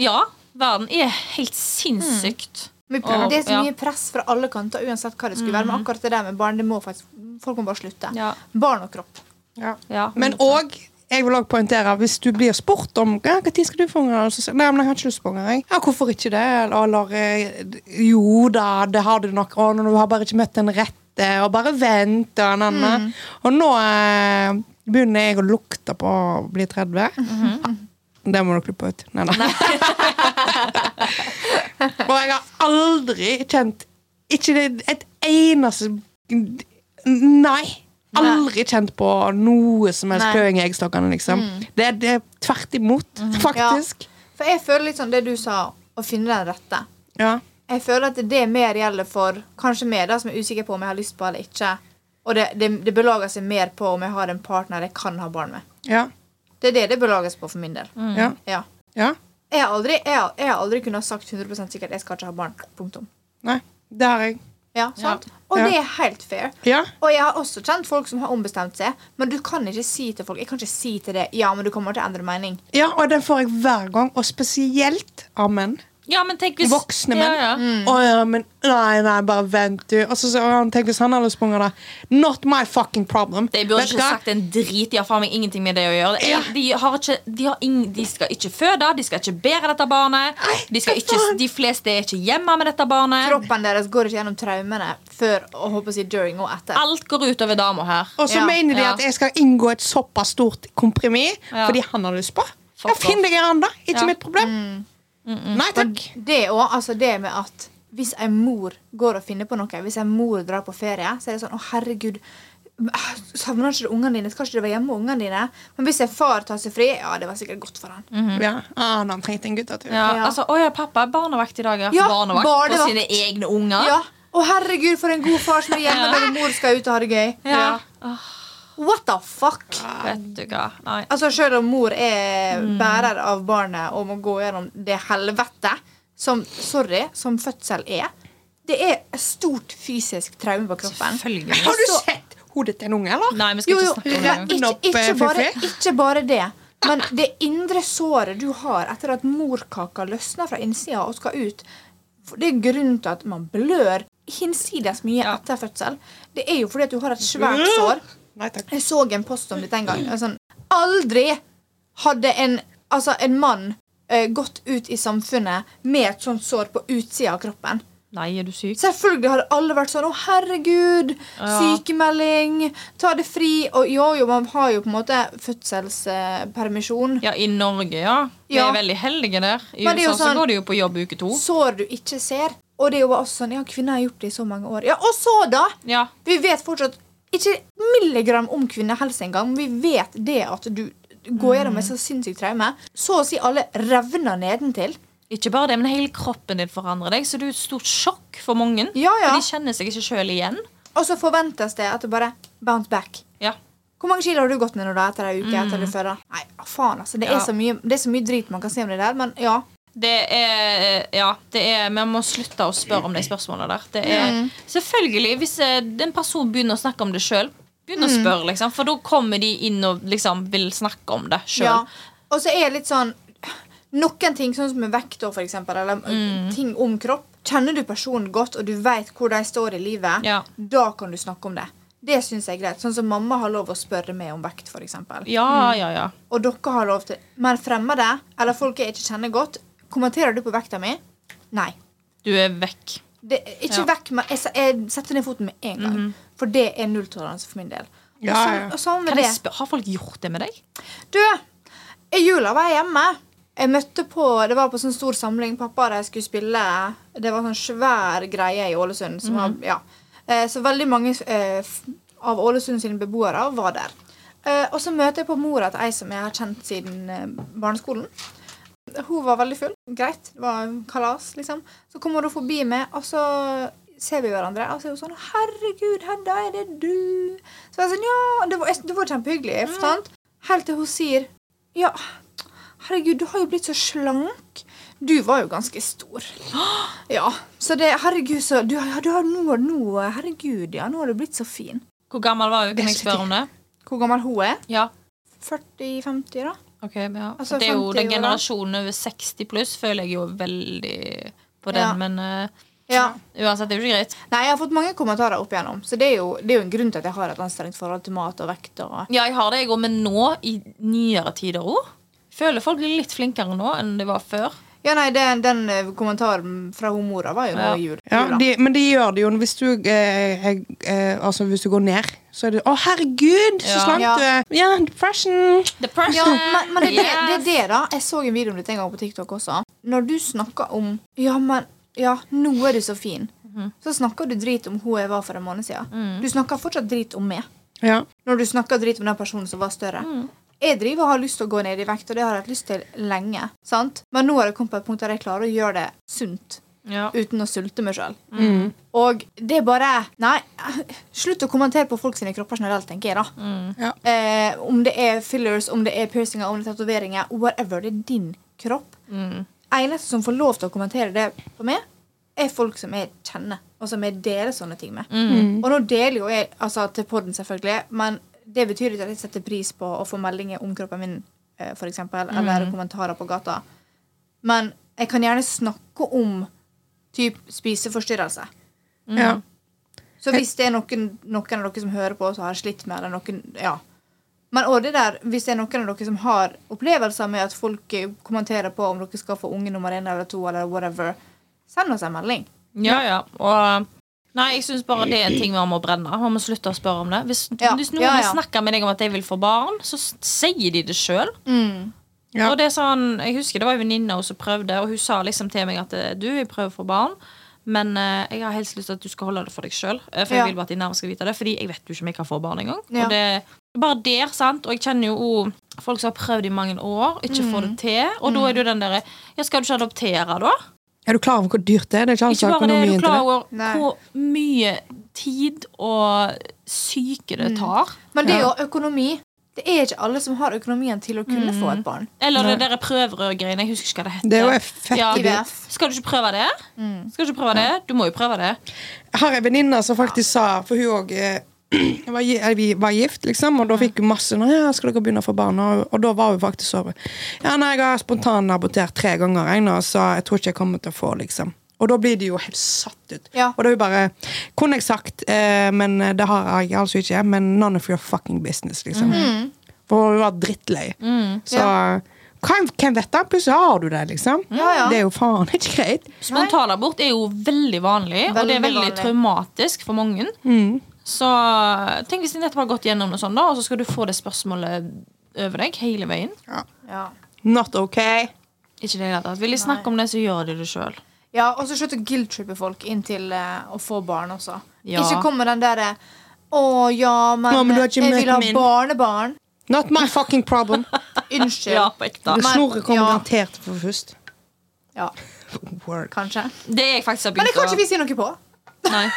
ja, verden er helt sinnssykt.
Vi prøver-
Og-
det er så
ja. Mhm.
mye press fra alle kanter uansett hva det skulle være. Men akkurat det der med barn, det må faktisk, folk må bare slutte.
Ja.
Barn og kropp.
Ja.
Ja,
Men òg, jeg vil også poengtere, hvis du blir spurt om ja, når skal du få unger, Og så sier du, nei, men jeg har ikke lyst på unger. jeg». Ja, hvorfor ikke det? Eller eh, jo da, det har du nok, og du har bare ikke møtt den rette, og bare vent og en annen. Og nå eh, begynner jeg å lukte på å bli 30. Det må dere klippe ut. Nei, nei. og jeg har aldri kjent ikke det, et eneste Nei. Aldri kjent på noe som helst
Nei.
kløing i eggstokkene, liksom. Det, det er tvert imot, faktisk.
For jeg føler litt sånn det du sa, å finne den rette.
Ja.
Jeg føler at det mer gjelder for kanskje meg, da, som er usikker på om jeg har lyst på eller ikke. Og det, det, det belager seg mer på om jeg har en partner jeg kan ha barn med.
Ja.
Det er det det belages på for min del.
Mm.
Ja.
Ja.
ja.
Jeg har aldri, jeg, har- jeg har aldri kunnet ha sagt 100 sikkert jeg skal ikke ha barn. Punktum.
Nei. Det har jeg.
Ja, sant? Og
Ja.
det er helt fair.
Ja.
Og jeg har også kjent folk som har ombestemt seg, men du kan ikke si til folk Jeg kan ikke si til det Ja, men du kommer til å endre mening.
ja, og den får jeg hver gang, og spesielt av menn.
ja, men tenk hvis
Voksne menn. Mm.
Ja, ja.
Mm.
Å ja, men nei, nei, bare vent, du. Og så, så «Å, tenk hvis han hadde sprunget da. Not my fucking problem.
De burde
Vet
ikke
du hva?
sagt en drit. De har faen meg ingenting med det å gjøre. De,
Ja.
de, har ikke, de, har ing, de skal ikke føde, de skal ikke bære dette barnet. De, skal ikke, de fleste er ikke hjemme med dette barnet.
Kroppen deres går ikke gjennom traumene før og håper å si during og
Ah,
etter.
Alt går ut over dama her.
Og så
Ja.
mener de
Ja.
at jeg skal inngå et såpass stort kompromiss
Ja.
fordi han har lyst på.
Fuck
Ja, Finn deg en annen, da. Ikke
Ja.
mitt problem.
Mm.
Nei takk.
Det òg, altså det med at hvis ei mor går og finner på noe, hvis ei mor drar på ferie, så er det sånn Å, herregud. øh, Savner ikke du ungene dine? Skal ikke du være hjemme med ungene dine? Men hvis en far tar seg fri, ja, det var sikkert godt for han.
Ja, ah, han trengte en guttetur.
Ja,
Ja.
altså, Å ja, pappa er barnevakt i dag. Ja.
Ja,
barnevakt på
barnevakt.
sine egne unger.
Ja. Å, herregud, for en god far som er hjemme
Ja.
når mor skal ut og ha det gøy.
Ja.
What the fuck?
Vet du hva. Nei.
Altså Selv om mor er bærer av barnet og må gå gjennom det helvete som, sorry, som fødsel er Det er et stort fysisk traume på kroppen.
Selvfølgelig.
Har du
Så-
sett hodet til en unge, eller?
Nei, vi skal
Jo, jo,
ikke snakke om det.
Rett
ikke,
opp,
ikke,
eh,
bare,
Fifi.
ikke bare det. Men det indre såret du har etter at morkaka løsner fra innsida og skal ut for Det er grunnen til at man blør hinsides mye
Ja.
etter fødsel. Det er jo fordi at du har et svært sår.
Nei takk.
Jeg så en post om dette en gang. og Sånn, aldri hadde en, altså en mann eh, gått ut i samfunnet med et sånt sår på utsida av kroppen.
Nei, er du syk?
Selvfølgelig hadde alle vært sånn 'Å, herregud,
Ja.
sykemelding, ta det fri' Og jo, jo, man har jo på en måte fødselspermisjon.
Ja, I Norge, ja. Vi
Ja.
er veldig heldige der. I
Men det er jo
USA så
sånn-
går det jo på jobb uke to.
Sår du ikke ser. Og det er jo bare også sånn 'Ja, kvinner har gjort det i så mange år'. Ja, og så, da!
Ja,
Vi vet fortsatt ikke milligram om kvinnehelse engang, men vi vet det at du går gjennom
Mm.
et så sinnssykt traume. Så å si alle revner nedentil.
Ikke bare det, men hele kroppen din forandrer deg, så det er jo et stort sjokk for mange.
Ja, ja.
For de kjenner seg ikke sjøl igjen.
Og så forventes det at du bare bounce back.
Ja.
Hvor mange kilo har du gått ned nå da etter ei uke? etter du føder? Nei, faen altså, det er,
Mm. Ja.
så mye, det er så mye drit man kan si om det der, men ja.
Det er, ja, det er Vi må slutte å spørre om de spørsmålene der. Det er,
Mm.
Selvfølgelig, hvis eh, en person begynner å snakke om det sjøl, begynn
Mm.
å spørre, liksom, for da kommer de inn og liksom vil snakke om det
ja.
sjøl.
Og så er det litt sånn Noen ting, sånn som med vekt, da, for eksempel, eller eh,
Mm.
ting om kropp Kjenner du personen godt, og du vet hvor de står i livet,
Ja.
da kan du snakke om det. Det syns jeg er greit. Sånn som mamma har lov å spørre meg om vekt, for eksempel.
Ja, ja, ja.
Og dere har lov til Men fremmede, eller folk jeg ikke kjenner godt, kommenterer du på vekta mi? Nei.
Du er vekk.
Det, ikke
Ja. Mhm.
vekk, men jeg, se- jeg setter ned foten med en gang. For det er nulltoleranse for min del. Og
Ja,
sånn-
ja.
Og sånn med
Kan jeg
det.
spør, har folk gjort det med deg?
Du, i jula var jeg hjemme. Jeg møtte på, Det var på sånn stor samling. Pappa og de skulle spille. Det var sånn svær greie i Ålesund. Som var, ja. Eh, Så veldig mange eh, f- av Ålesund sine beboere var der. Eh, Og så møter jeg på mora til ei som jeg har kjent siden eh, barneskolen. Hun var veldig full. Greit. Det var kalas, liksom. Så kommer hun forbi meg, og så ser vi hverandre. Og så er hun sånn 'Herregud, Hedda, er det du?' Så jeg sånn, ja, Det var, det var kjempehyggelig. sant? Helt til hun sier Ja, herregud, du har jo blitt så slank. Du var jo ganske stor. Ja, så det, herregud, så du, ja, du har nå, nå, herregud, ja, nå har du blitt så fin.
Hvor gammel var hun? Kan jeg
Jeg
spørre om det?
Hvor gammel hun er?
Ja.
40-50, da?
Ok, men ja.
Altså,
det er
50
jo den
år, da.
generasjonen over 60 pluss, føler jeg jo veldig på den,
Ja.
men eh,
Ja.
uansett, det er jo ikke greit.
Nei, jeg har fått mange kommentarer opp igjennom, så det er jo, det er jo en grunn til at jeg har et anstrengt forhold til mat og vekt og
Ja, jeg har det, jeg òg, men nå, i nyere tider òg, føler folk blir litt flinkere nå enn de var før.
Ja, nei, den, den eh, kommentaren fra hun mora var jo nå
Ja.
i jul.
Ja,
jula.
de, men de gjør det jo hvis du, eh, eh, eh, altså hvis du går ned. Så er det 'Å, herregud, så
Ja.
slank
Ja.
du er'. Ja, depression.
Depression!
Ja, men, men det, er det,
yes.
det er det, da. Jeg så en video om dette en gang på TikTok også. Når du snakker om Ja, men ja, nå er du så fin. Så snakker du drit om hun jeg var for en måned siden. Du snakker fortsatt drit om meg.
Ja.
Når du snakker drit om den personen som var større. Jeg driver og har lyst til å gå ned i vekt, og det har jeg hatt lyst til lenge. sant? Men nå har jeg kommet på et punkt der jeg klarer å gjøre det sunt
Ja.
uten å sulte meg sjøl. Og det er bare Nei, slutt å kommentere på folk sine kropper generelt, tenker jeg, da.
Mm.
Ja.
Eh, om det er fillers, om det er piercinger, om det er tatoveringer, whatever. Det er din kropp. Eneste som får lov til å kommentere det på meg, er folk som jeg kjenner, og som jeg deler sånne ting med. Og nå deler jo jeg altså til podden, selvfølgelig, men det betyr ikke at jeg setter pris på å få meldinger om kroppen min, eh, for eksempel, eller kommentarer på gata. Men jeg kan gjerne snakke om typ spiseforstyrrelse.
Mm.
ja.
Så hvis det er noen, noen av dere som hører på og har slitt med eller noen, ja. Men også det der, hvis det er noen av dere som har opplevelser med at folk eh, kommenterer på om dere skal få unge nummer én eller to, eller whatever, send oss en melding.
Ja, ja. Og Nei, jeg synes bare det er en ting vi må brenne. Man må slutte å spørre om det. Hvis,
Ja.
hvis noen
Ja, ja.
snakker med deg om at de vil få barn, så s- sier de det sjøl.
Mm.
Ja.
Og det er sånn, jeg husker det var en venninne også som prøvde, og hun sa liksom til meg at eh, du, jeg prøver å få barn, men eh, jeg har helst lyst til at du skal holde det for deg sjøl. For jeg
Ja.
vil bare at de nærmest skal vite det, fordi jeg vet jo ikke om jeg kan få barn engang.
Ja.
Og det bare der, sant. Og jeg kjenner jo oh, folk som har prøvd i mange år, ikke
Mm.
får det til. Og da er det jo den derre ja, Skal du ikke adoptere, da?
Er du klar over hvor dyrt det er? Det er ikke altså
Ikke bare det,
økonomien
er du
til
klar
det.
over
Nei.
hvor mye tid og syke
Mm.
det tar?
Men det er jo økonomi. Det er ikke alle som har økonomien til å kunne få
Mm.
et barn.
Eller det der prøverørgreiene. Jeg husker ikke hva det heter.
Det er jo fett
Ja.
dyrt.
IVF.
Skal du ikke prøve det?
Mm.
Skal du ikke prøve det? Du må jo prøve det.
Jeg har en venninne som faktisk sa For hun òg var, gi- eh, vi var gift, liksom, og da fikk hun masse når, ja, skal dere begynne å få barn. Og, og da var hun faktisk over. Ja, nei, jeg har spontanabortert tre ganger, jeg, nå, så jeg tror ikke jeg kommer til å få, liksom. Og da blir de jo helt satt ut.
Ja.
Og da er hun bare Kunne jeg sagt, eh, men det har jeg altså ikke, men none of your fucking business, liksom.
Mhm.
For hun var drittlei. Så hvem, hvem vet, da? Plutselig har du det, liksom.
Ja, ja.
Det er jo faen ikke greit.
Spontanabort er jo veldig vanlig, og det er
Veldig
veldig
vanlig.
traumatisk for mange.
Mm.
Så tenk hvis de nettopp har gått gjennom noe sånt, da, og så skal du få det spørsmålet over deg hele veien.
Ja.
Not okay.
Ikke det i det hele tatt. Vil de snakke om det, så gjør de det sjøl.
Ja, og så slutt å guilt-trippe folk inn til eh, å få barn også.
Ja.
Ikke kom med den derre Å ja, men,
Å, men du har ikke
jeg
møtt
vil ha
min.»
barnebarn.
Not my fucking problem.
Unnskyld.
Ja, på ekte.
Men-
Snorre kommer
ja.
garantert for først.
ja,
Word.
kanskje.
Det er jeg faktisk har
Men det
begynt
kan ikke vi si noe på.
Nei.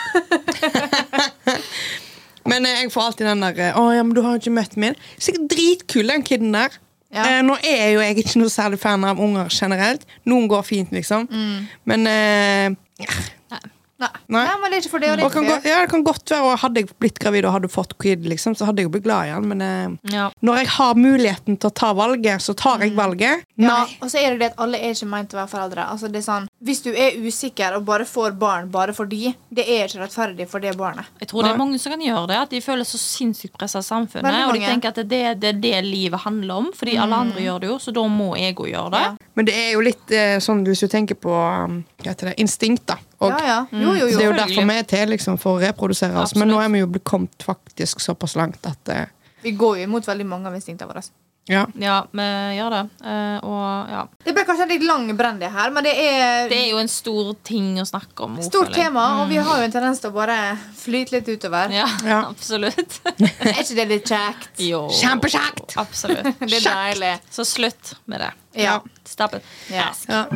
Men eh, jeg får alltid den der eh, Å ja, men du har jo ikke møtt min. Sikkert dritkul, den kiden der.
Ja.
Eh, nå er jo jeg ikke noe særlig fan av unger generelt. Noen går fint, liksom.
Mm.
Men eh,
Nei.
Nei.
Nei, men det er ikke for det. Og
og
det er
kan
ikke
gå, ja, det kan godt være og Hadde jeg blitt gravid og hadde fått kid, liksom, så hadde jeg jo blitt glad i han. Men eh,
Ja.
når jeg har muligheten til å ta valget, så tar jeg valget.
Mm. Ja, og så er det det at alle er ikke meint å være foreldre. Altså, det er sånn, hvis du er usikker og bare får barn bare fordi, det er ikke rettferdig for det barnet.
Jeg tror det er mange som kan gjøre det. At de føler så sinnssykt pressa av samfunnet.
Veldig
Og
mange.
de
Mm.
tenker at det er det, det er det livet handler om, fordi alle andre gjør det jo, så da må jeg òg gjøre det.
Ja.
Men det er jo litt eh, sånn hvis du tenker på um, hva heter det, instinkt, da. Og
Ja, ja. Jo, jo,
Mm. Det er
jo.
jo derfor vi er til, liksom, for å reprodusere oss. Men nå er vi jo blitt kommet faktisk såpass langt at eh,
Vi går jo imot veldig mange av instinktene våre.
Ja.
Ja, vi gjør det. Eh, og ja.
Det ble kanskje en litt lang brann, det her, men det er,
Det er jo en stor ting å snakke om.
stort
føler jeg.
tema, og vi har jo en tendens til å bare flyte litt utover.
Ja,
Ja.
absolutt.
Er ikke det litt kjekt?
Jo.
Kjempekjekt!
Absolutt.
Det er deilig.
Så slutt med det.
Ja.
Stop it.
Ja.
Ask.
Ja.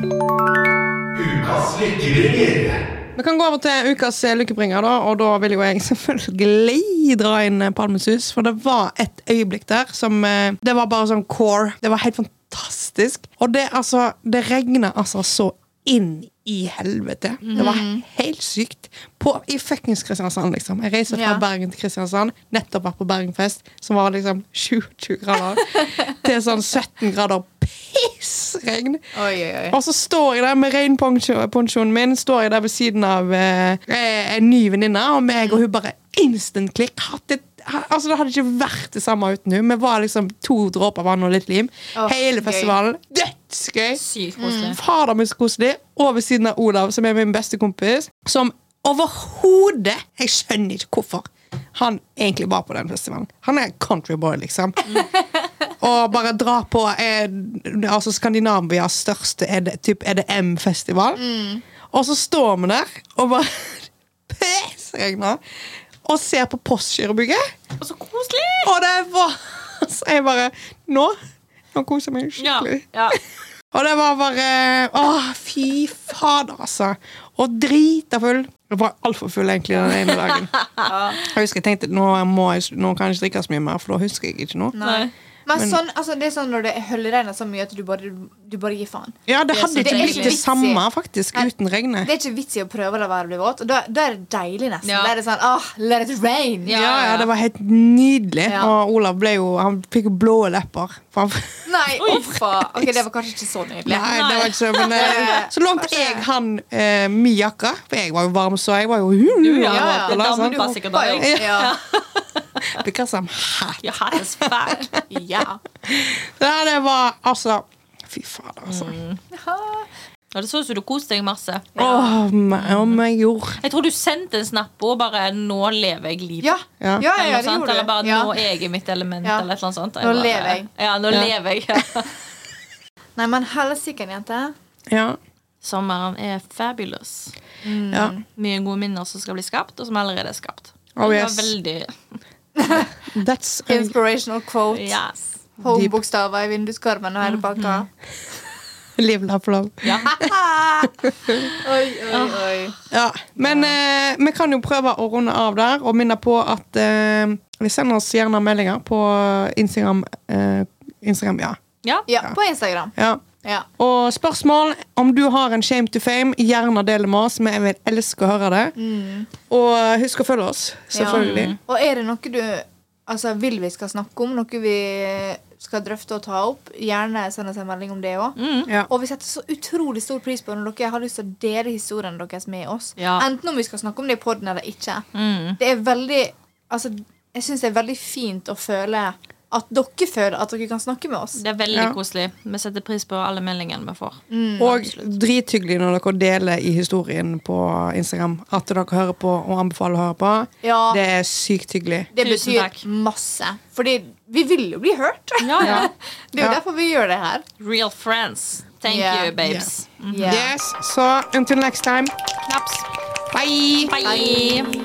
Ukas lykkeringer.
Vi kan gå over til ukas eh, lykkebringer, da, og da vil jo jeg selvfølgelig dra inn eh, Palmesus. For det var et øyeblikk der som eh, Det var bare sånn core. Det var helt fantastisk. Og det, altså, det regna altså så inn i helvete. Det var helt sykt. På, I fuckings Kristiansand, liksom. Jeg reiser fra
Ja.
Bergen til Kristiansand. Nettopp vært på Bergenfest, som var liksom 27 grader, til sånn 17 grader pissregn.
Oi, oi, oi.
Og så står jeg der med reinponchoen min Står jeg der ved siden av eh, eh, en ny venninne, og meg og hun bare instant klikk. Hatt et, ha, altså, det hadde ikke vært det samme uten hun Vi var liksom to dråper vann og litt lim.
Åh,
Hele
gøy.
festivalen. Dødsgøy!
Sykt koselig.
Fader meg så koselig. Og ved siden av Olav, som er min beste kompis. Som overhodet Jeg skjønner ikke hvorfor han egentlig var på den festivalen. Han er countryboy, liksom. Og bare dra på eh, altså Skandinavias største Er det, typ, er det M-festival? Og så står vi der og bare pissregner og ser på Postgirobygget.
Mm.
Og så koselig!
Og det var Så jeg bare Nå, nå koser jeg meg
Ja,
skikkelig.
ja.
Og det var bare Åh, fy fader, altså. Og drita full. Jeg var altfor full egentlig den ene dagen. Jeg husker jeg tenkte nå, må jeg, nå kan jeg ikke drikke så mye mer, for da husker jeg ikke noe.
Nei.
Nei.
Men,
Men-
sånn, altså, det er sånn når det høljregner så mye at du bare, du bare gir faen.
Ja, Det
Det er
hadde
så
ikke blitt
deilig.
det samme faktisk
Nei.
uten regnet.
Det er ikke vits i å prøve å la være å bli våt. Og da, da er det deilig, nesten.
Ja.
Da er det sånn ah, let it rain.
Ja.
Ja, ja, det var helt nydelig.
Ja.
Og Olav ble jo, han fikk jo blå lepper. For han,
Nei, uffa. Ok, det var kanskje ikke så nydelig.
nei, det var ikke så men, eh,
Nei.
Så langt
Kanskje-
jeg han eh, min jakke, for jeg var jo varm, så jeg var jo
Ja, ja.
ja.
Det
Sånn.
damper
Hoppa
sikkert av
jo.
deg.
Ja.
Virker som hæ?
Ja, her er svært.
ja.
Ja, det var altså Fy fader, altså.
Mm,
Ja, det så ut som du koste deg masse.
Åh, om, om jeg gjorde
Jeg tror du sendte en snap og bare 'Nå lever jeg livet'.
Ja. ja, ja, ja,
Eller, noe
det
sånt,
gjorde
eller bare
du. Ja.
'Nå er jeg i mitt element'.
Ja.
Eller et eller annet sånt.
Nå
bare-
lever jeg.
Ja, nå
Ja.
lever jeg.
Nei, men helsike, jente.
Ja.
Sommeren er fabulous.
Mm.
ja.
Mye gode minner som skal bli skapt, og som allerede er skapt.
Oh,
Det var
yes.
veldig
That's
Inspirational quote.
yes.
Homebokstaver i vinduskarmen og hele pakka.
live, love, love.
Mhm. ja. Ah.
Oi, oi, oi.
Ja. Men eh, vi kan jo prøve å runde av der og minne på at eh, vi sender oss gjerne meldinger på Instagram. eh, Instagram, ja.
ja.
Ja, på Instagram.
ja.
Ja.
Og spørsmål om du har en shame to fame, gjerne del det med oss. Vi vil elske å høre det. Og husk å følge oss, selvfølgelig.
Mm. Ja. Mm. Og er det noe du altså, vil vi skal snakke om, noe vi skal drøfte og ta opp, gjerne send oss en melding om det òg.
Mm.
Ja.
Og vi setter så utrolig stor pris på når dere har lyst til å dele historien deres med oss.
Ja.
Enten om vi skal snakke om det i poden eller ikke.
Mm.
Det er veldig Altså, jeg syns det er veldig fint å føle at dere føler at dere kan snakke med oss.
Det er veldig
Ja.
koselig. Vi setter pris på alle meldingene vi får.
Mm.
Og drithyggelig når dere deler i historien på Instagram at dere hører på og anbefaler å høre på.
Ja.
Det er sykt hyggelig.
Det
Tusen
betyr
takk.
masse. Fordi vi vil jo bli hørt.
Ja, ja.
Det er jo
Ja.
derfor vi gjør det her.
Real friends. Thank
Yeah.
you, babes.
Yeah.
Yes, Så until next time.
Knaps.
Bye!
Bye.